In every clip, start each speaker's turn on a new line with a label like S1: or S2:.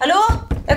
S1: Hallo? Jeg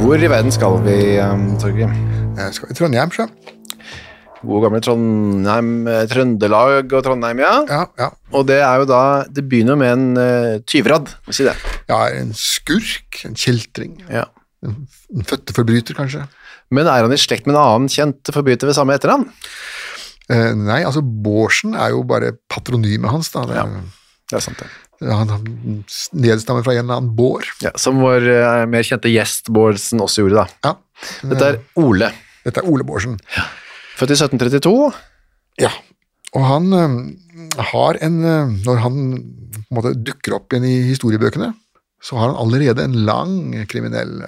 S2: Hvor i verden skal vi, um, Torgrim?
S3: Jeg Eh, skal i Trondheim, sjø.
S2: Gode gamle Trondheim, eh, Trøndelag og Trondheim, ja.
S3: Ja, ja.
S2: Og det er jo da Det begynner jo med en uh, tyvradd, må si det.
S3: Jeg er en skurk, en kjeltring.
S2: Ja.
S3: En f- en føtteforbryter, kanskje.
S2: Men er han i slekt med en annen kjent forbryter ved samme etternavn?
S3: Eh, nei, altså Bårdsen er jo bare patronymet hans. da. Det, er-
S2: Det er sant, det.
S3: Han, han s- nedstammer fra en eller annen Bård.
S2: Ja, som vår eh, mer kjente gjest Bårdsen også gjorde, da.
S3: Ja. Eh,
S2: Dette er Ole.
S3: Dette er Ole Bårdsen.
S2: Født i 1732.
S3: Ja. Og han eh, har en eh, Når han på en måte dukker opp igjen i historiebøkene, så har han allerede en lang kriminell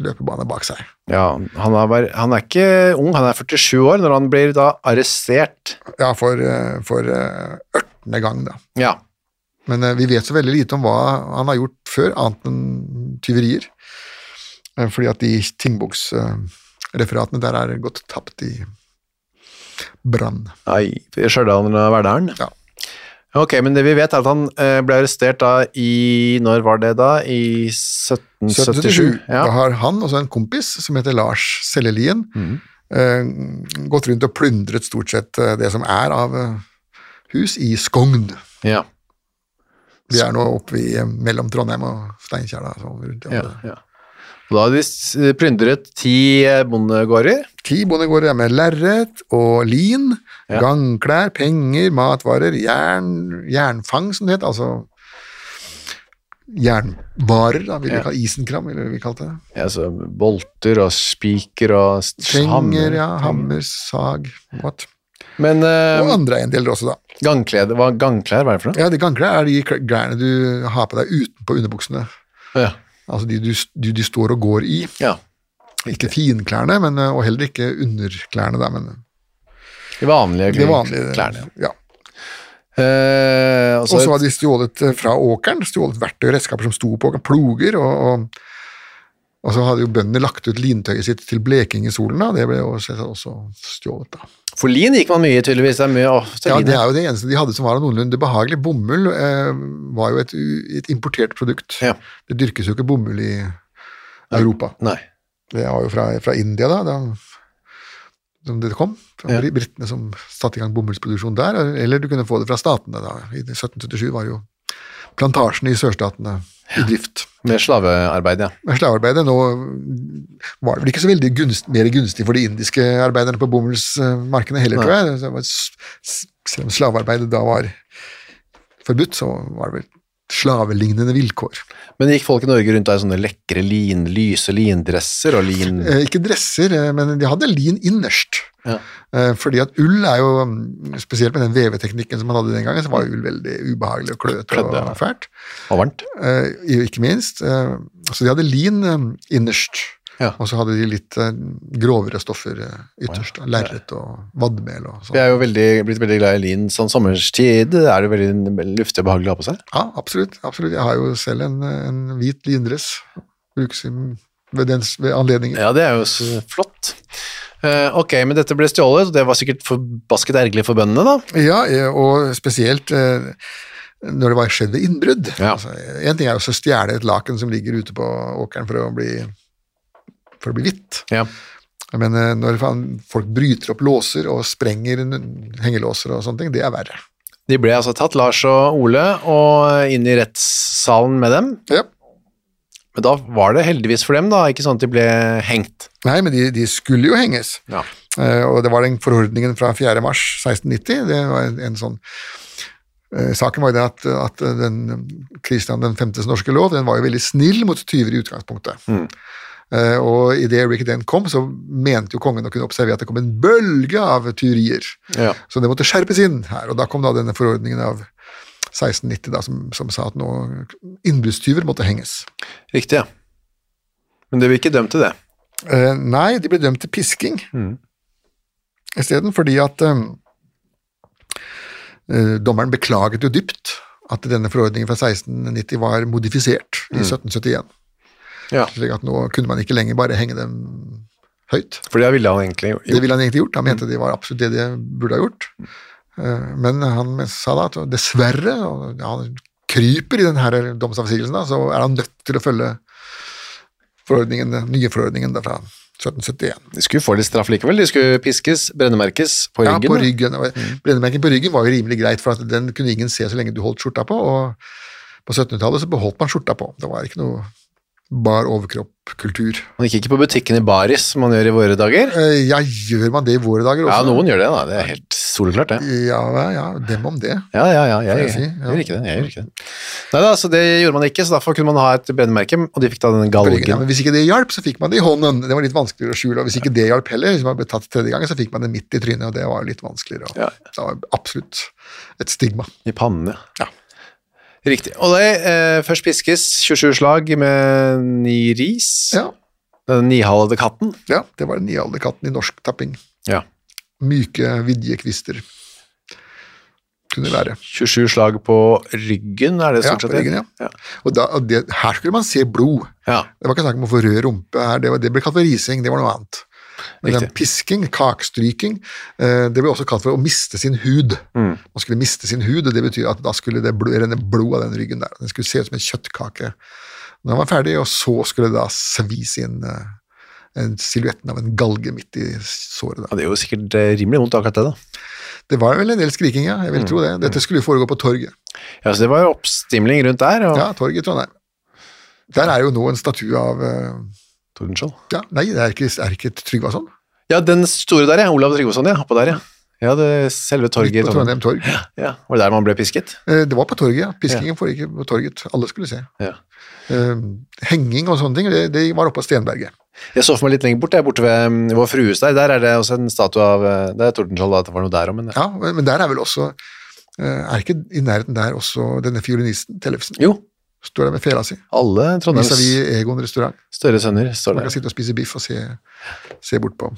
S3: løpebane bak seg.
S2: Ja, han er, bare- han er ikke ung, han er 47 år når han blir da arrestert.
S3: Ja, for, eh, for eh, ørtende gang, da.
S2: Ja.
S3: Men eh, vi vet så veldig lite om hva han har gjort før, annet enn tyverier. Eh, Fordi at de tingboksreferatene der er gått tapt i brann.
S2: Nei, i Stjørdal og Verdalen.
S3: Ja.
S2: Ok, men det vi vet er at han eh, ble arrestert da i Når var det da? I 1777?
S3: Da
S2: Ja.
S3: har han og så en kompis som heter Lars Sellelien,
S2: Mm.
S3: eh, gått rundt og plundret stort sett eh, det som er av eh, hus i Skogn.
S2: Ja,
S3: Vi er nå oppe i, eh, mellom Trondheim og Steinkjer. da, så rundt i
S2: ja,
S3: området.
S2: ja. Og Da hadde de s- plyndret ti eh, bondegårder.
S3: Ti bondegårder ja, med lerret og lin,
S2: Ja.
S3: gangklær, penger, matvarer, jern, jernfang, som det het, altså jernvarer, da, ville
S2: Ja.
S3: vi kalle isenkram, ville vi kalt det.
S2: Ja, så bolter og spiker og s-
S3: Penger,
S2: hammer.
S3: ja, hammer, sag, what.
S2: Men eh,
S3: Og andre eiendeler også, da.
S2: gangklede, hva, gangklær, hva er det for noe?
S3: Ja, de Gangklær er de kl- klærne du har på deg utenpå underbuksene.
S2: Ja.
S3: Altså de du, de, de står og går i.
S2: ja.
S3: Ikke finklærne, men, og heller ikke underklærne, da, men
S2: De vanlige,
S3: de vanlige
S2: klærne.
S3: Ja.
S2: Eh, og
S3: Og så
S2: så
S3: hadde de stjålet eh, fra åkeren, stjålet verktøy og redskaper som sto på åkeren, ploger, og, og, og så hadde jo bøndene lagt ut lintøyet sitt til bleking i solen, da. det ble jo selvsagt også stjålet. da.
S2: For lin gikk man mye, tydeligvis. Det er mye ofte
S3: Ja,
S2: lin,
S3: Det er jo det eneste de hadde som var noenlunde behagelig. Bomull eh, var jo et, u- et importert produkt.
S2: Ja.
S3: Det dyrkes jo ikke bomull i Europa.
S2: Nei.
S3: Det var jo fra, fra India, da, da som det kom. Fra
S2: Ja.
S3: britene som satte i gang bomullsproduksjon der. Eller du kunne få det fra statene. da. I 1777 var jo plantasjene i sørstatene i drift.
S2: Med slavearbeid, ja.
S3: Men slavearbeidet nå var det vel ikke så veldig gunst, mer gunstig for de indiske arbeiderne på bomullsmarkene heller, tror jeg. Så det var, s- s- selv om slavearbeidet da var forbudt, så var det vel slavelignende vilkår.
S2: Men gikk folk i Norge rundt der i sånne lekre lin, lyse lindresser og lin...
S3: Eh, Ikke dresser, eh, men de hadde lin innerst.
S2: Ja.
S3: Eh, Fordi at ull er jo, mm, spesielt med den veveteknikken som man hadde den gangen, så var jo ull veldig ubehagelig og kløete
S2: Klødde, ja.
S3: og fælt.
S2: Og varmt.
S3: eh, ikke minst. eh, Så de hadde lin eh, innerst.
S2: Ja.
S3: Og så hadde de litt eh, grovere stoffer eh, ytterst. da. Lerret og vadmel og sånn.
S2: Jeg er jo veldig, blitt veldig glad i lin. Sånn sommerstid er det veldig luftig og behagelig å ha på seg.
S3: Ja, absolutt. absolutt. Jeg har jo selv en, eh, en hvit lindress. Brukes i, ved, den, ved anledninger.
S2: Ja, det er jo så flott. Eh, ok, men dette ble stjålet, og det var sikkert forbasket ergerlig for bøndene, da.
S3: Ja, eh, og spesielt eh, når det var skjedd ved innbrudd.
S2: Ja.
S3: Altså, en ting er også å stjele et laken som ligger ute på åkeren for å bli, for å bli hvitt.
S2: Ja.
S3: Men eh, når faen folk bryter opp låser og sprenger n- hengelåser og sånne ting, det er verre.
S2: De ble altså tatt, Lars og Ole, og inn i rettssalen med dem.
S3: Ja.
S2: Men da var det heldigvis for dem, da, ikke sånn at de ble hengt.
S3: Nei, men de, de skulle jo henges.
S2: Ja.
S3: Eh, og det var den forordningen fra 4. mars 1690. Det var en, en sånn eh, Saken var jo det at, at den Kristian den 5.s norske lov den var jo veldig snill mot tyver i utgangspunktet. Eh, og idet øyeblikket den kom, så mente jo kongen å kunne observere at det kom en bølge av tyverier.
S2: Ja.
S3: Så det måtte skjerpes inn her. Og da kom da denne forordningen av 1690 da, som, som sa at nå innbruddstyver måtte henges.
S2: Riktig, ja. Men de ble ikke dømt til det.
S3: Eh, nei, de ble dømt til pisking isteden, fordi at eh, eh, dommeren beklaget jo dypt at denne forordningen fra 1690 var modifisert i 1771.
S2: Ja.
S3: Slik at nå kunne man ikke lenger bare henge dem høyt.
S2: For det ville han egentlig
S3: Det
S2: gjort.
S3: ville han egentlig gjort, han mente det var absolutt det de burde ha gjort. Eh, Men han sa da at dessverre, og han kryper i denne domsavsigelsen, da, så er han nødt til å følge forordningen, den nye forordningen da fra 1771.
S2: De skulle få litt straff likevel. De skulle piskes, brennemerkes på
S3: Ja,
S2: ryggen.
S3: på
S2: da. Mm.
S3: ryggen. og Brennemerken på ryggen var jo rimelig greit, for at den kunne ingen se så lenge du holdt skjorta på, og på 1700-tallet så beholdt man skjorta på. Det var ikke noe bar overkropp-kultur.
S2: Man gikk ikke på butikken i baris, som man gjør i våre dager.
S3: Eh, Ja, gjør man det i våre dager også?
S2: Ja, noen gjør det, da. Det er helt soleklart, det.
S3: Ja, ja, dem om det.
S2: Ja, ja, ja. Jeg,
S3: Får jeg
S2: jeg,
S3: si? Ja.
S2: gjør ikke det. Jeg gjør ikke det. Nei da, så det gjorde man ikke, så derfor kunne man ha et brennemerke, og de fikk da denne
S3: på ryggen. Ja,
S2: galgen.
S3: men hvis ikke det hjalp, så fikk man det i hånden. Det var litt vanskeligere å skjule. Og hvis ikke det hjalp heller, hvis man ble tatt tredje gangen, så fikk man det midt i trynet, og det var jo litt vanskeligere. Og
S2: Ja.
S3: Det var absolutt et stigma.
S2: I pannen, ja. Riktig. Og det, eh, først piskes 27 slag med ni ris.
S3: Ja,
S2: Den nihalede katten.
S3: ja det var den nialderkatten i norsk tapping.
S2: Ja.
S3: Myke vidjekvister kunne være.
S2: 27 slag på ryggen, er det
S3: Ja,
S2: stort
S3: på
S2: sett?
S3: ryggen, ja.
S2: Ja.
S3: Og, da, og det, her skulle man se blod.
S2: ja.
S3: Det var ikke snakk om å få rød rumpe her, det, var, det ble kalt for rising, det var noe annet. Men den
S2: Riktig.
S3: pisking, kakstryking, eh, det ble også kalt for å miste sin hud. Man skulle miste sin hud, og det betyr at da skulle det blod, renne blod av den ryggen der. Den skulle se ut som en kjøttkake. Når den var ferdig, og så skulle det da svis inn eh, en- silhuetten av en galge midt i såret.
S2: Ja,
S3: Da.
S2: Det er jo sikkert eh, rimelig vondt, akkurat det, da.
S3: Det var vel en del skriking, ja. Jeg vil tro det. Dette skulle jo foregå på torget.
S2: Ja, så det var jo oppstimling rundt der, og
S3: Ja, torget i Trondheim. Der er jo nå en statue av eh,
S2: Tordenskjold.
S3: ja, Nei, det er ikke, er ikke Tryggvason.
S2: Ja, den store der, ja. Olav Tryggvason, ja. Oppå der, ja. Ja, det selve torget i
S3: Midt på Trondheim torg.
S2: Ja, var det der man ble pisket?
S3: Eh, Det var på torget, ja. Piskingen foregikk på torget. Alle skulle se.
S2: Ja.
S3: Eh, Henging og sånne ting, det, det var oppe på Stenberget.
S2: Jeg så for meg litt lenger bort, jeg, borte ved mm, Vår Frues der. Der er det også en statue av eh, Det er Tordenskjold, da, at det var noe der òg, men
S3: Ja, men men der er vel også eh, Er ikke i nærheten der også denne fiolinisten, Tellefsen?
S2: Jo,
S3: Står der med fela si.
S2: alle Trondheims
S3: Vis-à-vis Egon restaurant.
S2: større sønner står
S3: Man
S2: der.
S3: kan sitte og spise biff og se, se bort på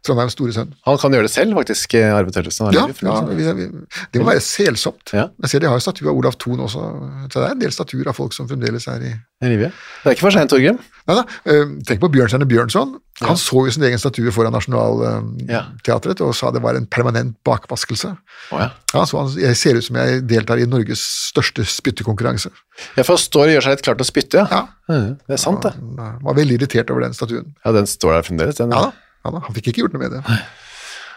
S3: Trondheims store sønn.
S2: Han kan gjøre det selv, faktisk, eh, Arve Tørresen. Han
S3: Ja,
S2: lever,
S3: ja
S2: for-
S3: vi- vi- det må være selsomt.
S2: Ja.
S3: Jeg ser de har jo statue av Olav Thon også. Så det er en del statuer av folk som fremdeles er i
S2: i livet. Det er ikke for seint, Torgrim.
S3: Neida, eh, Tenk på Bjørnstjerne Bjørnson. Han så jo sin egen statue foran
S2: Ja.
S3: Nationaltheatret eh, og sa det var en permanent bakvaskelse.
S2: Å, ja.
S3: Han så han, jeg ser ut som jeg deltar i Norges største spyttekonkurranse.
S2: Jeg forstår og gjør seg litt klar til å spytte, ja.
S3: Ja.
S2: Mhm, Det er sant, det.
S3: Han eh, var veldig irritert over den statuen.
S2: Ja, den står der fremdeles, den.
S3: Ja da, ja da, han fikk ikke gjort noe med det.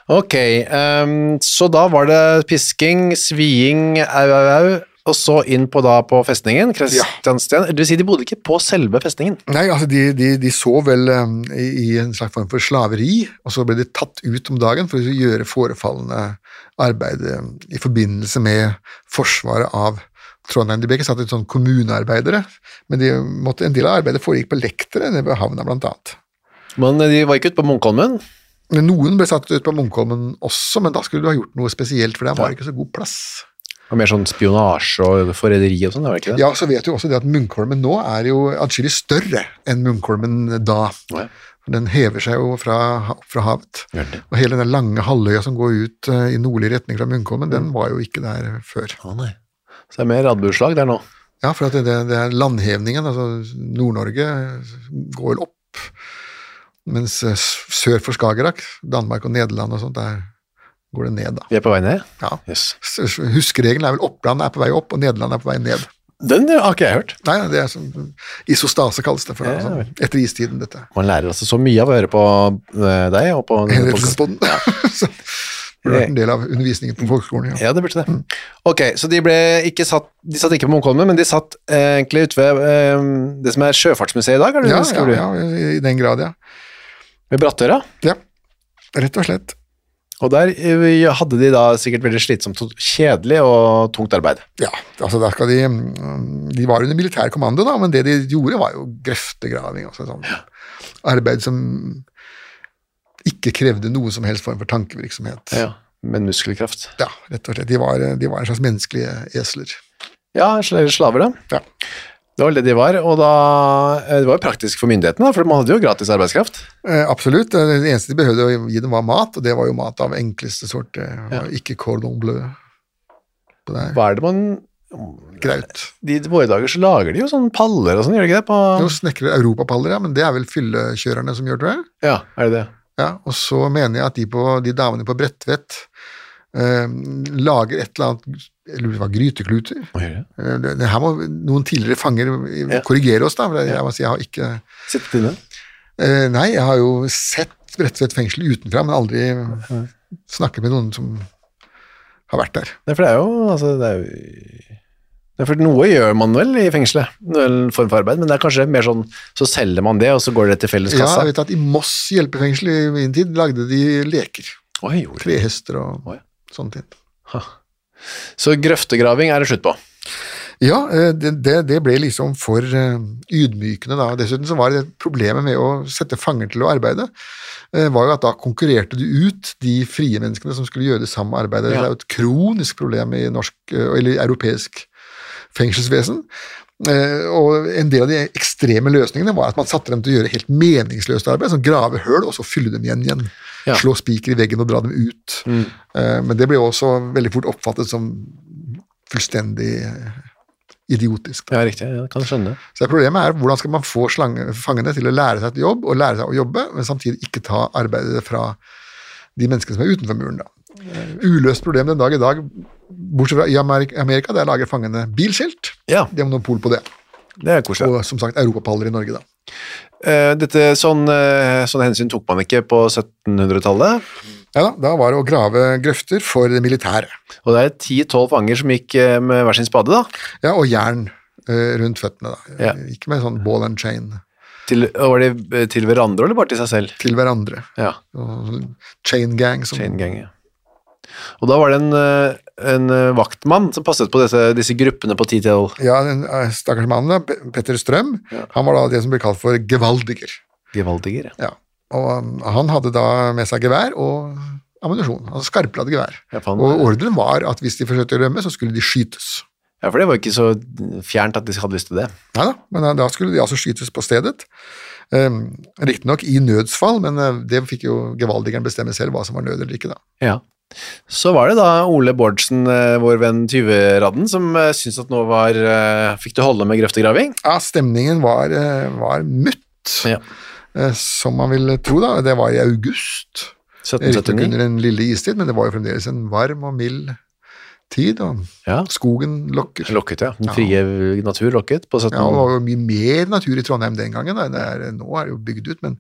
S2: Ok, ehm, så da var det pisking, sviing, au, au, au, og så inn på da på festningen, Kristiansten. Du sier de bodde ikke på selve festningen.
S3: Nei, altså de, de, de så vel eh, i, i en slags form for slaveri, og så ble de tatt ut om dagen for å gjøre forefallende arbeid eh, i forbindelse med forsvaret av Trondheim. De ble ikke satt ut som kommunearbeidere, men de måtte, en del av arbeidet foregikk på lektere nede ved havna, blant annet.
S2: Men de var ikke ute på Munkholmen.
S3: Men noen ble satt ut på Munkholmen også, men da skulle du ha gjort noe spesielt, for der var det ikke så god plass.
S2: var mer sånn spionasje og forræderi og sånn, det var ikke det?
S3: Ja, så vet du også det at Munkholmen nå er jo atskillig større enn Munkholmen da.
S2: Ja.
S3: Den hever seg jo fra, ha- fra havet.
S2: Gjør den det?
S3: Og hele den lange halvøya som går ut eh, i nordlig retning fra Munkholmen, den
S2: Mm.
S3: var jo ikke der før.
S2: Å, nei. Så det er mer radbuslag der nå.
S3: Ja, for at det, det, det er landhevningen, altså Nord-Norge eh, går vel opp, mens eh, s- sør for Skagerrak, Danmark og Nederland og sånt, der går det ned da.
S2: Vi er på vei ned?
S3: Ja.
S2: Yes.
S3: S- s- Huskeregelen er vel Oppland er på vei opp, og Nederland er på vei ned.
S2: Den har ikke jeg hørt.
S3: Nei, det er sånn isostase kalles det for,
S2: Ja,
S3: altså, etter istiden dette.
S2: Man lærer altså så mye av å høre på eh, deg og på denne podcasten.
S3: Henrettelsesbånden. Så burde vært en del av undervisningen på folkeskolen, ja.
S2: Ja, det burde det. Ok, så de ble ikke satt De satt ikke på Munkholmen, men de satt eh, egentlig ute ved eh, det som er Sjøfartsmuseet i dag, er det
S3: Ja,
S2: det
S3: ja,
S2: skriver du?
S3: ja, i- i den grad, ja.
S2: Ved Brattøra.
S3: Ja, rett og slett.
S2: Og der eh, hadde de da sikkert veldig slitsomt og kjedelig og tungt arbeid.
S3: Ja, altså der skal de mm, De var under militær kommando, da, men det de gjorde, var jo grøftegraving. Altså, sånn. Arbeid som ikke krevde noen som helst form for tankevirksomhet.
S2: Med muskelkraft.
S3: Ja, rett og slett. De var, de var en slags menneskelige esler.
S2: Ja, sl- slaver, da.
S3: Ja.
S2: Det var det de var, og da eh, Det var jo praktisk for myndighetene, da, for man hadde jo gratis arbeidskraft.
S3: Eh, absolutt. Det eneste de behøvde å gi dem, var mat, og det var jo mat av enkleste sort. Det var Ikke cordon bleu. Det er
S2: Hva er det man
S3: graut.
S2: I våre dager så lager de jo sånne paller og sånn, gjør de ikke det? På,
S3: Nå snekrer europapaller, ja, men det er vel fyllekjørerne som gjør, tror jeg.
S2: ja, er det det?
S3: Ja, og så mener jeg at de, på, de damene på Bredtvet eh, lager et eller annet jeg lurer på hva, grytekluter.
S2: Å, gjør de det?
S3: Eh, det- det Her må noen tidligere fanger eh,
S2: Ja.
S3: korrigere oss, da. For jeg, jeg må si jeg har ikke
S2: Sitte inne?
S3: eh, Nei, jeg har jo sett Bredtvet fengsel utenfra, men aldri eh, snakket med noen som har vært der.
S2: Nei, for det er jo, altså, det er jo Nei, for noe gjør man vel i fengselet, en form for arbeid, men det er kanskje mer sånn, så selger man det, og så går det til
S3: Ja,
S2: felleskassa.
S3: jeg vet at I Moss hjelpefengsel i min tid lagde de leker.
S2: Oi, gjorde det.
S3: Trehester og
S2: Å, ja.
S3: sånne ting.
S2: Så grøftegraving er det slutt på.
S3: Ja, eh, det, det, det ble liksom for eh, ydmykende da. Dessuten så var det problemet med å sette fanger til å arbeide, eh, var jo at da konkurrerte du ut de frie menneskene som skulle gjøre det samme arbeidet.
S2: Ja.
S3: Det er jo et kronisk problem i norsk, eh, eller europeisk fengselsvesen. Eh, Og en del av de ekstreme løsningene var at man satte dem til å gjøre helt meningsløst arbeid, sånn grave høl og så fylle dem igjen igjen.
S2: Ja.
S3: Slå spiker i veggen og dra dem ut. Eh, Men det ble jo også veldig fort oppfattet som fullstendig eh, idiotisk.
S2: Ja, riktig. Jeg kan skjønne.
S3: Så det problemet er hvordan skal man få slange, fangene til å lære seg et jobb, og lære seg å jobbe, men samtidig ikke ta arbeidet fra de menneskene som er utenfor muren, da. Eh, Uløst problem den dag i dag, bortsett fra i Amerika, Amerika der lager fangene bilskilt.
S2: Ja,
S3: De har monopol på det.
S2: det er koselig.
S3: Og som sagt, europapaller i Norge, da.
S2: Eh, dette, sånn, eh, sånn hensyn tok man ikke på 1700-tallet,
S3: Ja da, da var det å grave grøfter for det militære.
S2: og det er 10-12 fanger som gikk eh, med hver sin spade, da.
S3: Ja, og jern eh, rundt føttene, da.
S2: Ja.
S3: Ikke med sånn ball and chain
S2: Til, og var det eh, til hverandre, eller bare til seg selv?
S3: til hverandre.
S2: Ja,
S3: Og sånn Chain gang. Som,
S2: chain gang, ja. Og da var det en, eh, en eh, vaktmann som passet på disse, disse gruppene på 10-12.
S3: Ja, den eh, stakkars mannen, da, Pe- Petter Strøm, han var da det som ble kalt for gevaldiger.
S2: Gevaldiger, ja.
S3: Ja. Og um, han hadde da med seg gevær og ammunisjon, altså skarpladd gevær.
S2: Ja, faen.
S3: Og ordren var at hvis de forsøkte å rømme, så skulle de skytes.
S2: Ja, for det var jo ikke så fjernt at de hadde lyst til det.
S3: Nei da, men da- da skulle de altså skytes på stedet. Um, Riktignok i nødsfall, men eh, det fikk jo gevaldigeren bestemme selv hva som var nød eller ikke, da.
S2: Ja. Så var det da Ole Bårdsen, eh, vår venn Tyveradden, som eh, syntes at nå var eh, Fikk det holde med grøftegraving?
S3: Ja, stemningen var, eh, var mutt,
S2: Ja.
S3: eh, som man ville tro, da. Det var i august. Riktignok
S2: 1779.
S3: under en lille istid, men det var jo fremdeles en varm og mild tid, og
S2: Ja.
S3: skogen lokker.
S2: Lokket, ja. Den frie natur lokket på 17...
S3: Ja, og det var jo mye mer natur i Trondheim den gangen. Da. Det er, eh, nå er det jo bygd ut, men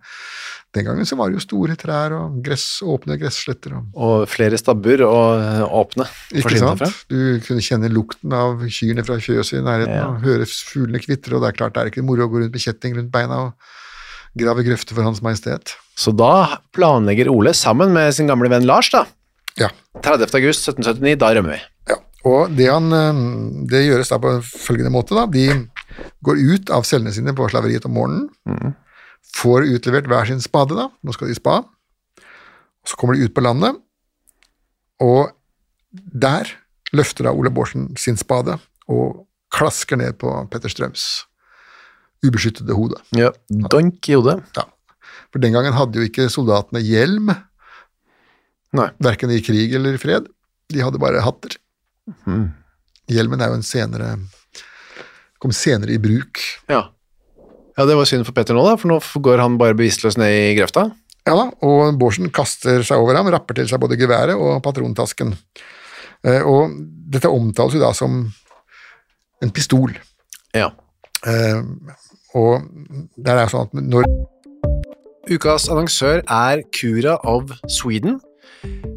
S3: den gangen så var det jo store trær og gress, åpne gresssletter. Og,
S2: og flere stabbur og eh, åpne.
S3: ikke
S2: forsvinner
S3: sant? Du kunne kjenne lukten av kyrne fra fjøset i nærheten,
S2: Ja.
S3: og høre fuglene kvitre, og det er klart det er ikke moro å gå rundt med kjetting rundt beina og grave grøfter for Hans Majestet.
S2: Så da planlegger Ole, sammen med sin gamle venn Lars, da.
S3: Ja.
S2: 30. august 1779, da rømmer vi.
S3: Ja, og det, han, eh, det gjøres da på følgende måte. Da. De går ut av cellene sine på slaveriet om morgenen, får utlevert hver sin spade, da. nå skal de spa, så kommer de ut på landet, og der løfter da Ole Bårdsen sin spade og klasker ned på Petter Strøms ubeskyttede hode.
S2: Ja, donk i hodet.
S3: Ja. For den gangen hadde jo ikke soldatene hjelm,
S2: Nei.
S3: verken i krig eller i fred. De hadde bare hatter. Hjelmen er jo en senere kom senere i bruk.
S2: Ja. ja, det var synd for Petter nå, da, for nå går han bare bevisstløs ned i grøfta.
S3: Ja da, og Bårdsen kaster seg over ham, rapper til seg både geværet og patrontasken. Eh, Og dette omtales jo da som en pistol.
S2: Ja.
S3: Eh, Og der er det sånn at når
S2: Ukas annonsør er Cura of Sweden.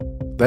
S2: Det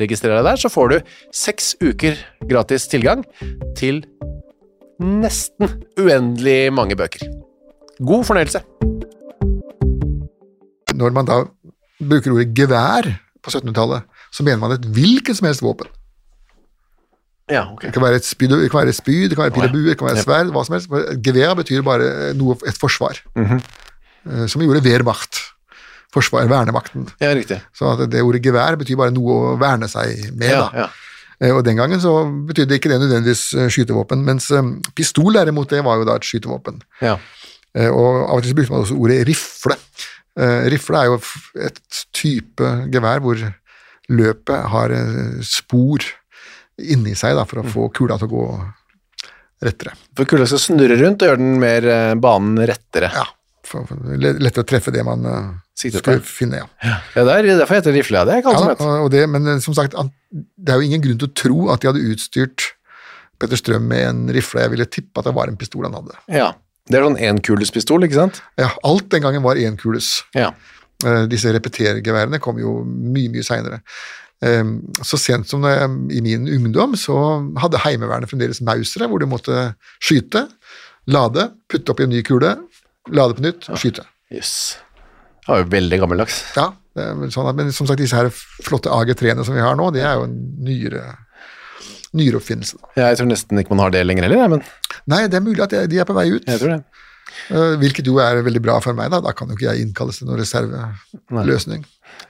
S2: Registrer deg der, så får du seks uker gratis tilgang til nesten uendelig mange bøker. God fornøyelse!
S3: når man da bruker ordet gevær på 1700-tallet, så mener man et hvilket som helst våpen.
S2: Ja, ok.
S3: Det kan være et spyd, det kan være, et spyd, det kan være pil og bue, det kan være et sverd, hva som helst. For Et gevær betyr bare noe, et forsvar,
S2: Mhm.
S3: Eh, som gjorde Wehrmacht, forsvar, vernemakten.
S2: Ja, riktig.
S3: Så at det ordet gevær betyr bare noe å verne seg med.
S2: Ja,
S3: da.
S2: ja.
S3: Eh, Og den gangen så betydde ikke det nødvendigvis eh, skytevåpen, mens eh, pistol derimot, det var jo da et skytevåpen.
S2: ja.
S3: Eh, Og av og til så brukte man også ordet rifle. Eh, Rifle er jo f- et type gevær hvor løpet har eh, spor inni seg da, for å få kula til å gå rettere.
S2: For kulda skal snurre rundt og gjøre den mer eh, banen rettere.
S3: Ja, for, for le- lettere å treffe det man eh,
S2: Sikter på.
S3: skal finne. Ja.
S2: Ja, det er derfor heter det rifle, ja. Det er ikke alt som
S3: Ja,
S2: heter.
S3: og det, men eh, som sagt, an- det er jo ingen grunn til å tro at de hadde utstyrt Petter Strøm med en rifle. Jeg ville tippe at det var en pistol han hadde.
S2: Ja. Det er sånn enkulespistol, ikke sant?
S3: Ja, alt den gangen var enkules.
S2: Ja.
S3: Eh, Disse repetergeværene kom jo mye, mye seinere. Så sent som da jeg- i min ungdom så hadde Heimevernet fremdeles mausere, hvor du måtte skyte, lade, putte opp i en ny kule, lade på nytt og skyte.
S2: Jøss. Det var jo veldig gammeldags.
S3: Ja, det er vel sånn at, Men som sagt, disse her flotte AG3-ene som vi har nå, det er jo en nyere, nyere oppfinnelse.
S2: Ja, jeg tror nesten ikke man har det lenger heller, jeg, men
S3: Nei, det er mulig at de de er på vei ut.
S2: jeg tror det.
S3: Eh, Hvilket jo er veldig bra for meg, da. Da kan jo ikke jeg innkalles til noen reserveløsning.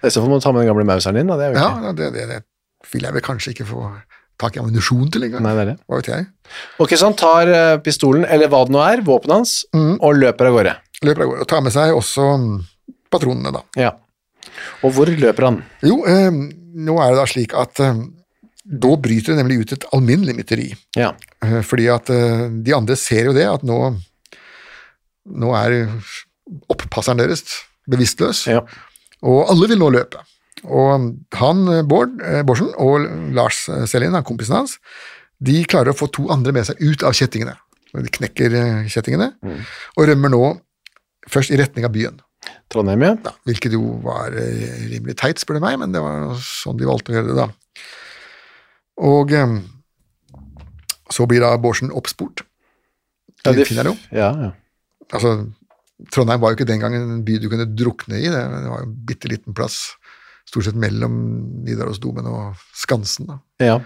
S2: I så fall må du ta med den gamle mauseren din, da. Det er jo
S3: Ja,
S2: ikke.
S3: ja, det, det, det vil jeg vel kanskje ikke få tak i ammunisjon til engang.
S2: Nei, det er det.
S3: Hva vet jeg.
S2: Ok, så han tar eh, pistolen, eller hva det nå er, våpenet hans,
S3: Mm.
S2: og løper av gårde.
S3: Løper av gårde. Og tar med seg også mm, patronene, da.
S2: Ja. Og hvor løper han?
S3: Jo, eh, nå er det da slik at eh, da bryter det nemlig ut et alminnelig mytteri.
S2: Ja.
S3: Eh, fordi at eh, de andre ser jo det, at nå, nå er oppasseren deres bevisstløs.
S2: ja.
S3: Og alle vil nå løpe. Og han, eh, Bård eh, Bårdsen og Lars eh, Selin, han kompisen hans, de klarer å få to andre med seg ut av kjettingene. De knekker eh, kjettingene og rømmer nå først i retning av byen.
S2: Trondheim, ja.
S3: Ja, hvilket jo var eh, rimelig teit, spør du meg, men det var nå sånn de valgte å gjøre det da. Og eh, så blir da Bårdsen oppspurt.
S2: Ja, de-
S3: finner jo.
S2: Ja, ja.
S3: Altså, Trondheim var jo ikke den gangen en by du kunne drukne i, det det var jo en bitte liten plass, stort sett mellom Nidarosdomen og Skansen. da.
S2: Ja,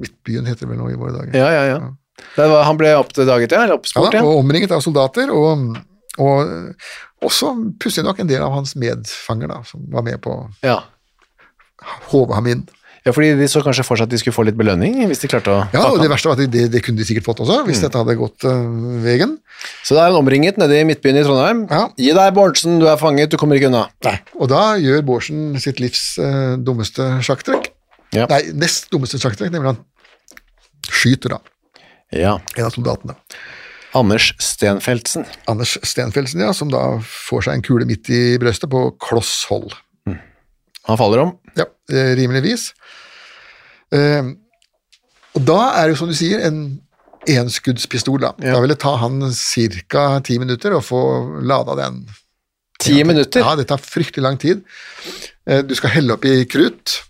S3: Midtbyen heter det vel nå i våre dager.
S2: ja, ja. ja. Det var, han ble oppdaget, ja? Eller oppspurt,
S3: da,
S2: ja?
S3: og omringet av soldater, og, og også pussig nok en del av hans medfanger da, som var med på å
S2: Ja.
S3: håve ham inn.
S2: ja, fordi de så kanskje for seg at de skulle få litt belønning hvis de klarte å
S3: Ja,
S2: fatte
S3: og det
S2: han.
S3: verste var at det, det kunne de sikkert fått også,
S2: Mm.
S3: hvis dette hadde gått øh, veien.
S2: Så da er han omringet nede i midtbyen i Trondheim.
S3: Ja.
S2: Gi deg, Bårdsen, du er fanget, du kommer ikke unna.
S3: Og da gjør Bårdsen sitt livs øh, dummeste sjakktrekk.
S2: Ja.
S3: Nei, nest dummeste sjakktrekk, nemlig han skyter da
S2: Ja.
S3: en av soldatene.
S2: Anders Stenfeldsen.
S3: Anders Stenfeldsen, ja, som da får seg en kule midt i brøstet på kloss hold.
S2: Han faller om.
S3: Ja, eh, rimeligvis. Eh, og da er det jo, som du sier, en enskuddspistol. Da. da vil det ta han ca. ti minutter å få lada den.
S2: Ti minutter.
S3: Ja, det tar fryktelig lang tid. Eh, Du skal helle opp i krutt,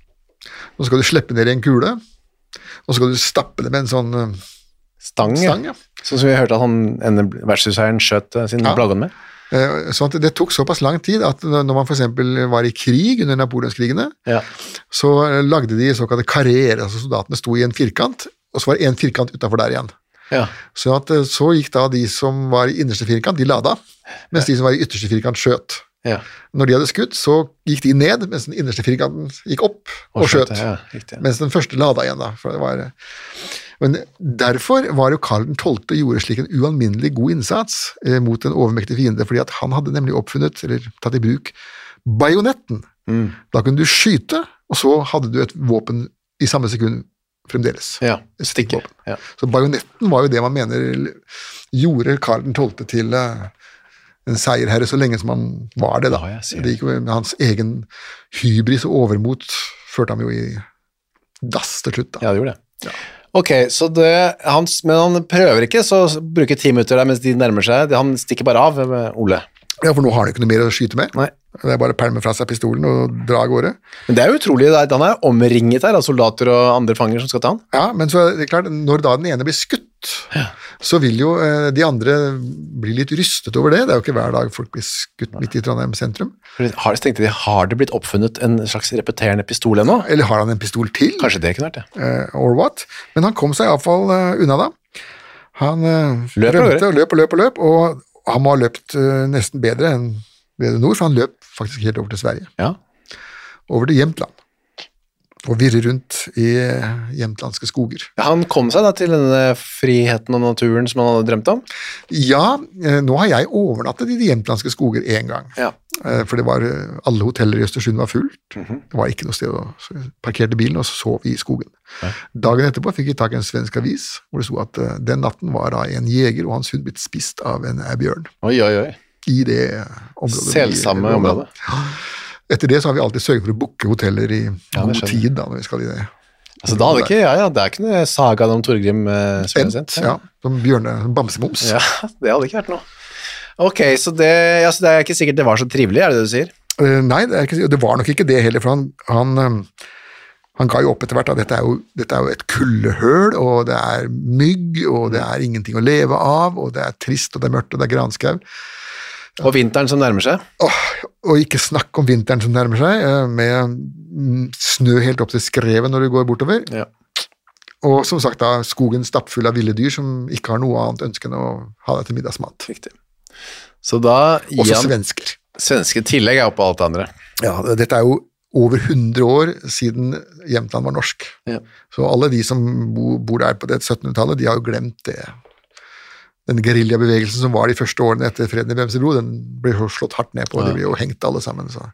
S3: og så skal du slippe ned i en kule, og så skal du stappe det med en sånn eh,
S2: Stang, ja.
S3: stang. Ja.
S2: Sånn som vi hørte at han ene vertshuseieren skjøt eh, sin
S3: Ja.
S2: blagon med.
S3: Eh, Sånn at det tok såpass lang tid at når man f.eks. var i krig under napoleonskrigene,
S2: Ja.
S3: så eh, lagde de såkalte karrierer, altså soldatene sto i en firkant, og så var det en firkant utafor der igjen.
S2: Ja.
S3: Så, at, eh, så gikk da de som var i innerste firkant, de lada, mens de som var i ytterste firkant, skjøt.
S2: ja.
S3: Når de hadde skutt, så gikk de ned, mens den innerste firkanten gikk opp og, skjøt.
S2: Ja, riktig.
S3: Mens den første lada igjen, da. For det var, eh, men derfor var jo Karl 12. gjorde slik en ualminnelig god innsats eh, mot en overmektig fiende, fordi at han hadde nemlig oppfunnet, eller tatt i bruk, bajonetten. Da kunne du skyte, og så hadde du et våpen i samme sekund fremdeles.
S2: ja.
S3: Et
S2: Stikker.
S3: stikkvåpen.
S2: Ja.
S3: Så bajonetten var jo det man mener gjorde Karl 12. til eh, en seierherre så lenge som han var det, da.
S2: Ja, jeg ser
S3: det gikk jo med hans egen hybris og overmot førte ham jo i dass til slutt, da.
S2: ja, det gjorde det. Ok, så det, han, Men han prøver ikke, så bruker ti minutter der mens de nærmer seg. Han stikker bare av, eh, Ole.
S3: Ja, for nå har han jo ikke noe mer å skyte med.
S2: Nei.
S3: Det er bare å pælme fra seg pistolen og dra av gårde.
S2: Men det er jo utrolig. det er- Han er omringet her av soldater og andre fanger som skal ta han.
S3: Ja, men så er det klart, når da den ene blir skutt, så vil jo eh, de andre bli litt rystet over det. Det er jo ikke hver dag folk blir skutt midt i Trondheim sentrum.
S2: For de- Har, tenkte de, har det blitt oppfunnet en slags repeterende pistol ennå?
S3: Eller har han en pistol til?
S2: Kanskje det kunne vært det.
S3: eh, or what. Men han kom seg iallfall uh, unna da. Han eh,
S2: Løp av gårde.
S3: rømte og løp og løp og løp, og han må ha løpt eh, nesten bedre enn bedre nord, for han løp faktisk helt over til Sverige.
S2: Ja.
S3: Over til Jämtland. Og virre rundt i eh, jämtlandske skoger.
S2: Ja, Han kom seg da til denne friheten og naturen som han hadde drømt om.
S3: Ja, eh, nå har jeg overnattet i de jämtlandske skoger én gang.
S2: Ja.
S3: Eh, For det var, eh, alle hoteller i Østersund var fullt.
S2: Mhm.
S3: Det var ikke noe sted å så jeg parkerte bilen, og så sov vi i skogen. Dagen etterpå fikk vi tak i en svensk avis hvor det sto at eh, den natten var da en jeger og hans hund blitt spist av en eh, bjørn.
S2: Oi, oi, oi.
S3: I det området.
S2: Selsamme
S3: vi-
S2: området.
S3: Etter det så har vi alltid sørget for å booke hoteller i
S2: Ja, det
S3: god
S2: skjønner jeg.
S3: tid da, når vi skal i det.
S2: Altså, da hadde ikke, ja, ja, Det er ikke noe saga om Torgrim eh, Svensen.
S3: Ent, ja, som bjørne, som bamsemums.
S2: Ja, det hadde ikke vært noe. Ok, så det, ja, så det er ikke sikkert det var så trivelig, er det det du sier?
S3: Eh, Nei, det, er ikke, det var nok ikke det heller, for han, han, eh, han ga jo opp etter hvert. Da. Dette, er jo, dette er jo et kuldehøl, og det er mygg, og det er ingenting å leve av, og det er trist, og det er mørkt, og det er granskau.
S2: Og vinteren som nærmer seg?
S3: Og ikke snakk om vinteren som nærmer seg, eh, med mm, snø helt opp til skrevet når du går bortover.
S2: Ja.
S3: Og som sagt da, skogen stappfull av ville dyr som ikke har noe annet ønske enn å ha deg til middagsmat.
S2: Riktig. Så da gir
S3: Også
S2: han
S3: svensker.
S2: svenske tillegg er oppå alt det andre.
S3: Ja, dette er jo over 100 år siden Jämtland var norsk.
S2: Ja.
S3: Så alle de som bo, bor der på det 1700-tallet, de har jo glemt det. Den geriljabevegelsen som var de første årene etter freden i Bremsebro, den ble jo slått hardt ned på, og de ble jo hengt alle sammen. Så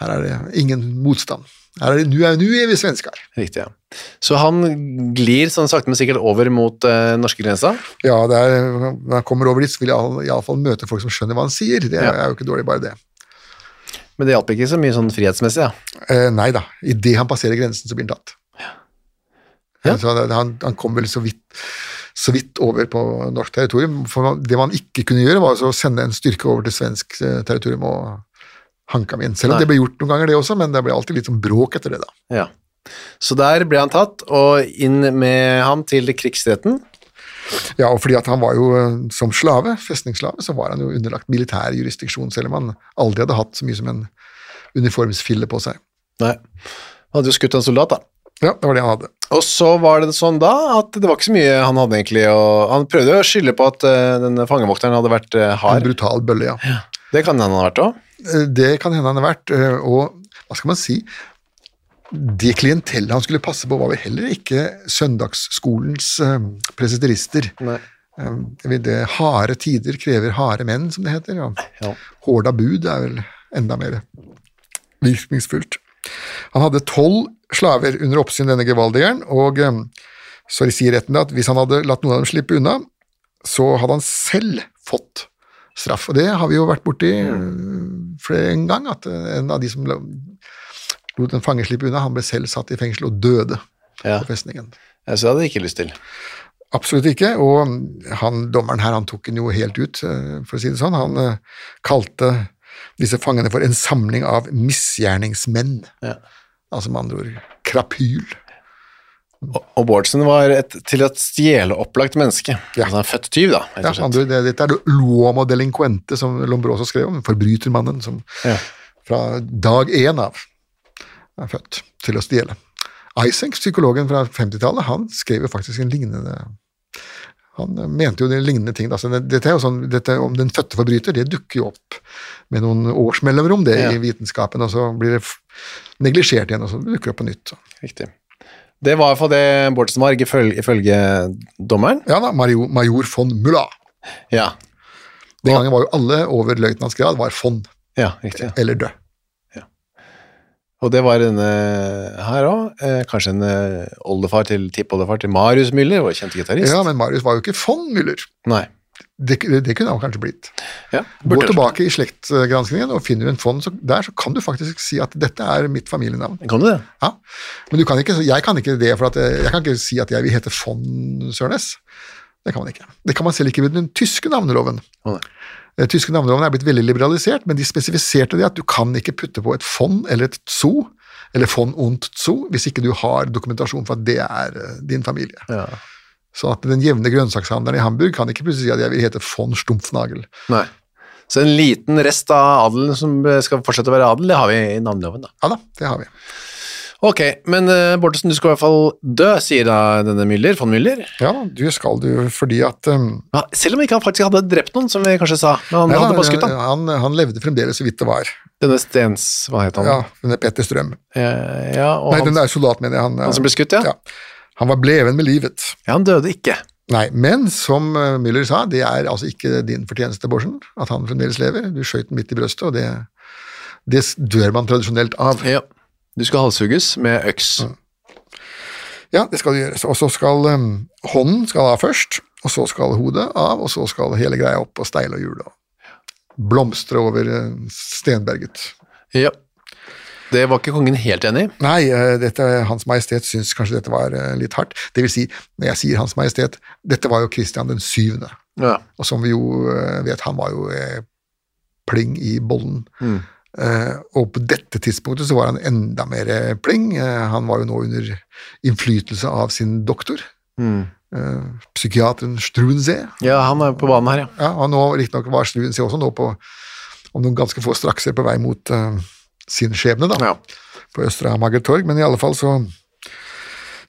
S3: her er det ingen motstand. Her er det nu er, nu er vi svensker.
S2: Riktig, ja. Så han glir sånn sakte, men sikkert over mot uh, norskegrensa.
S3: Ja, det er, når jeg kommer over dit, så vil jeg iallfall møte folk som skjønner hva han sier. Det
S2: Ja.
S3: er jo ikke dårlig, bare det.
S2: Men det hjalp ikke så mye sånn frihetsmessig, da.
S3: Eh, nei da, idet han passerer grensen, så blir han tatt.
S2: Ja.
S3: Så han- han, han kom vel så vidt, så vidt over på norsk territorium. For det man ikke kunne gjøre, var altså å sende en styrke over til svensk eh, territorium og hanke ham inn. Selv om
S2: Nei.
S3: det ble gjort noen ganger, det også, men det ble alltid litt sånn bråk etter det, da.
S2: Ja. Så der ble han tatt, og inn med ham til krigsretten.
S3: Ja, og fordi at han var jo eh, som slave, festningsslave, så var han jo underlagt militær jurisdiksjon, selv om han aldri hadde hatt så mye som en uniformsfille på seg.
S2: Nei. Han hadde jo skutt en soldat, da.
S3: Ja, det var det han hadde.
S2: Og så var det sånn da at det var ikke så mye han hadde egentlig å Han prøvde å skylde på at eh, denne fangevokteren hadde vært eh,
S3: En
S2: hard.
S3: brutal bølle, ja.
S2: Det kan hende han har vært òg.
S3: Eh, Det kan hende han har vært, eh, og hva skal man si Det klientellet han skulle passe på, var vel heller ikke søndagsskolens eh, presesterister. Eh, det vil- det- Harde tider krever harde menn, som det heter. Ja.
S2: Ja. Eh,
S3: Hårda bud er vel enda mer virkningsfullt. Han hadde tolv slaver under oppsyn, denne gevaldigeren, og eh, så sier retten da at hvis han hadde latt noen av dem slippe unna, så hadde han selv fått straff. Og det har vi jo vært borti eh, flere en gang, at eh, en av de som la- lot en fange slippe unna, han ble selv satt i fengsel og døde
S2: Ja.
S3: på festningen.
S2: Så det hadde jeg ikke lyst til.
S3: Absolutt ikke, og han, dommeren her han tok den jo helt ut, eh, for å si det sånn. Han eh, kalte disse fangene for en samling av misgjerningsmenn.
S2: Ja.
S3: Altså med andre ord krapyl.
S2: Og, og Bårdsen var et, til et stjeleopplagt menneske.
S3: Ja.
S2: Altså en født tyv, da.
S3: Ja,
S2: rett og
S3: med
S2: slett.
S3: andre ord, det, dette er det l'uomo delinquente, som Lombroso skrev om. Forbrytermannen som
S2: Ja.
S3: fra dag én av er født til å stjele. Isenk, psykologen fra 50-tallet, han skrev jo faktisk en lignende Han mente jo de lignende ting. Altså, det- dette er jo sånn, dette om den fødte forbryter, det dukker jo opp med noen års mellomrom det
S2: Ja.
S3: i vitenskapen, og så blir det f- neglisjert igjen, og så dukker det opp på nytt. Så.
S2: Riktig. Det var i hvert fall det Bårdsen var, ifølge, ifølge dommeren.
S3: Ja da, major, major von Mulla.
S2: Ja.
S3: Den gangen var jo alle over løytnantsgrad var von
S2: ja, riktig.
S3: eller død.
S2: Og det var denne her òg. Eh, kanskje en eh, oldefar til tippoldefar til Marius Müller, vår kjente gitarist.
S3: Ja, men Marius var jo ikke von Müller.
S2: Nei.
S3: Det, det kunne han kanskje blitt.
S2: Ja,
S3: Gå
S2: burde-
S3: tilbake i slektgranskningen, og finner du en fond så, der, så kan du faktisk si at dette er mitt familienavn.
S2: Kan du det?
S3: Ja. Men du kan ikke, jeg kan ikke det, for at eh, jeg, jeg kan ikke si at jeg vil hete von Sørnes. Det kan man ikke. Det kan man selv ikke ved den tyske navneloven.
S2: Å, nei.
S3: Den tyske navneloven er blitt veldig liberalisert, men de spesifiserte det at du kan ikke putte på et fond eller et zoo, eller von und zoo, hvis ikke du har dokumentasjon for at det er eh, din familie.
S2: Ja.
S3: Så at den jevne grønnsakshandleren i Hamburg kan ikke plutselig si at jeg vil hete von Stumpfnagel.
S2: Nei. Så en liten rest av adelen som eh, skal fortsette å være adel, det har vi i navneloven, da.
S3: Ja da, det har vi.
S2: Ok, men eh, Bortesen, du skal i hvert fall dø, sier da denne Müller, von Müller.
S3: Ja, du skal du, fordi at um,
S2: Ja, selv om ikke han faktisk hadde drept noen, som vi kanskje sa. Men han
S3: nei,
S2: hadde
S3: da,
S2: bare skutt han.
S3: han, han levde fremdeles så vidt det var.
S2: Denne Stens, hva het han?
S3: Ja, men det er Petter Strøm.
S2: Eh, ja og
S3: Nei,
S2: han,
S3: den der soldat, mener jeg. Han,
S2: han som ble skutt, ja. ja.
S3: Han var bleven med livet.
S2: han døde ikke.
S3: Nei, men som uh, Müller sa, det er altså ikke din fortjeneste, Borsen, at han fremdeles lever. Du skjøt den midt i brøstet, og det, det s- dør man tradisjonelt av.
S2: Ja. Du skal halshugges med øks.
S3: Mm. Ja, det skal gjøres. Og så skal um, hånden skal av først, og så skal hodet av, og så skal hele greia opp og steile og hjule og blomstre over uh, stenberget.
S2: Ja. Det var ikke kongen helt enig i.
S3: Nei, eh, dette, Hans Majestet syns kanskje dette var eh, litt hardt. Det vil si, når jeg sier Hans Majestet, dette var jo Kristian den syvende.
S2: Ja.
S3: Og som vi jo eh, vet, han var jo eh, pling i bollen. Eh, og på dette tidspunktet så var han enda mer eh, pling. Eh, han var jo nå under innflytelse av sin doktor, eh, psykiateren Struensee.
S2: ja, han er på banen her, ja.
S3: Ja, og nå riktignok var Struensee også nå på, om noen ganske få strakser, på vei mot eh, sin skjebne, da
S2: ja.
S3: på Østre Amager torg, men i alle fall så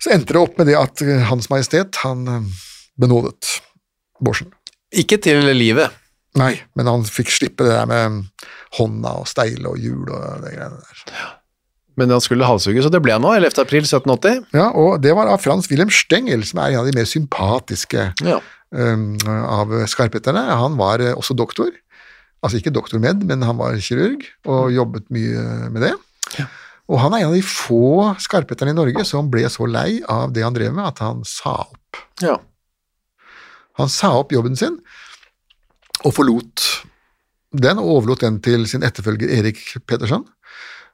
S3: Så endte det opp med det at eh, Hans Majestet, han eh, benådet Bårdsen.
S2: Ikke til livet.
S3: Nei, men han fikk slippe det der med hånda og steile og hjul og det greiene der.
S2: Men han skulle halshugges, og det ble han nå, 11. april 1780.
S3: Ja, og det var av Frans Wilhelm Stengel, som er en av de mer sympatiske
S2: Ja.
S3: um, av skarpheterne. Han var eh, også doktor. Altså ikke doktor med, men han var kirurg og jobbet mye med det. Og han er en av de få skarpheterne i Norge som ble så lei av det han drev med, at han sa opp.
S2: ja.
S3: Han sa opp jobben sin og forlot den, og overlot den til sin etterfølger Erik Petersen.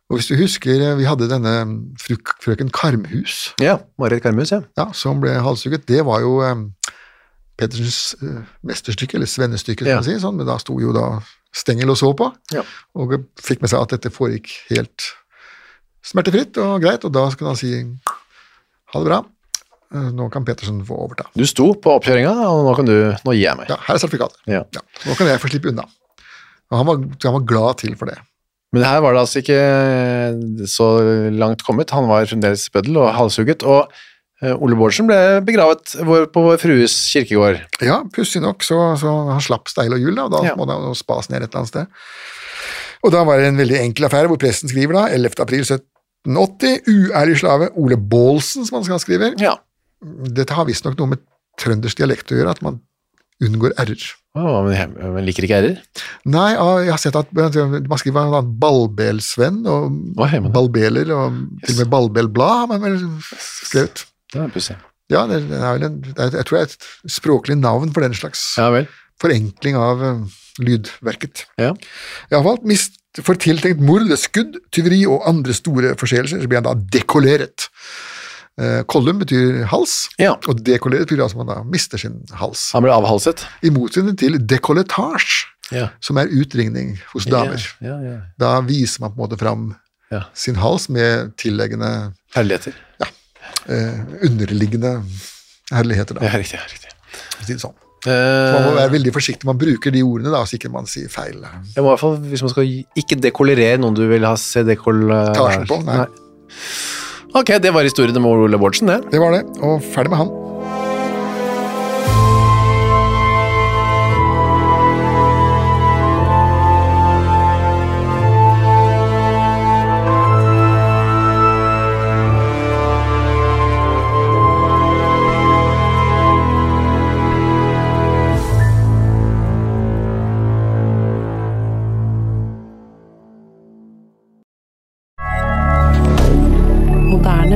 S3: Og hvis du husker, eh, vi hadde denne fru, frøken Karmhus
S2: Ja, Marit Karmus, ja.
S3: ja, som ble halshugget, det var jo eh, Pettersens eh, mesterstykke, eller svennestykke, skal
S2: Ja.
S3: man si, sånn, men da sto jo da Stengel og så på,
S2: Ja.
S3: og fikk med seg at dette foregikk helt smertefritt og greit, og da kunne han si ha det bra, eh, nå kan Pettersen få overta.
S2: Du sto på oppkjøringa, og nå kan du Nå gir jeg meg.
S3: Ja, her er sertifikatet.
S2: Ja.
S3: Ja, nå kan jeg få slippe unna. Og han var, han var glad til for det.
S2: Men her var det altså ikke så langt kommet. Han var fremdeles bøddel og halshugget. Og eh, Ole Bårdsen ble begravet vår- på Vår Frues kirkegård.
S3: Ja, pussig nok, så, så han slapp steil og hjul, da, og da
S2: Ja.
S3: må han jo spas ned et eller annet sted. Og da var det en veldig enkel affære, hvor presten skriver da, 11. april 1780, uærlig slave Ole Baalsen, som han skal skrive.
S2: Ja.
S3: Dette har visstnok noe med trøndersk dialekt å gjøre, at man unngår r-er.
S2: Å, men, jeg, men liker ikke r-er?
S3: Nei, ah, jeg har sett at man skriver bl.a. Balbelsvenn og
S2: Hva er det?
S3: Balbeler, og til og med Balbelblad har man vel skrevet.
S2: Det er pussig.
S3: Ja, det det er vel en, det er- jeg tror det er et språklig navn for den slags
S2: Ja vel.
S3: forenkling av eh, lydverket.
S2: Ja.
S3: Iallfall mist for tiltenkt mord, skudd, tyveri og andre store forseelser, så blir han da dekolleret. Eh, Kollum betyr hals,
S2: Ja.
S3: og dekolleret betyr altså at man da mister sin hals.
S2: Han ble avhalset.
S3: I motsetning til dekolletasje,
S2: Ja.
S3: som er utringning hos damer.
S2: Ja, ja, ja.
S3: Da viser man på en måte fram
S2: Ja.
S3: sin hals med tilleggende
S2: Herligheter.
S3: eh, underliggende herligheter, da,
S2: Ja, riktig. ja, riktig.
S3: for å si det sånn. Man må
S2: Eh,
S3: være veldig forsiktig når man bruker de ordene, da, så ikke man sier feil.
S2: jeg må i hvert fall, hvis man skal gi- ikke dekollerere noen du vil ha se dekoll...
S3: Tasjen på, nei.
S2: Ok, det var historien om Ole Bårdsen, det.
S3: Det var det, og ferdig med han.
S4: Moderne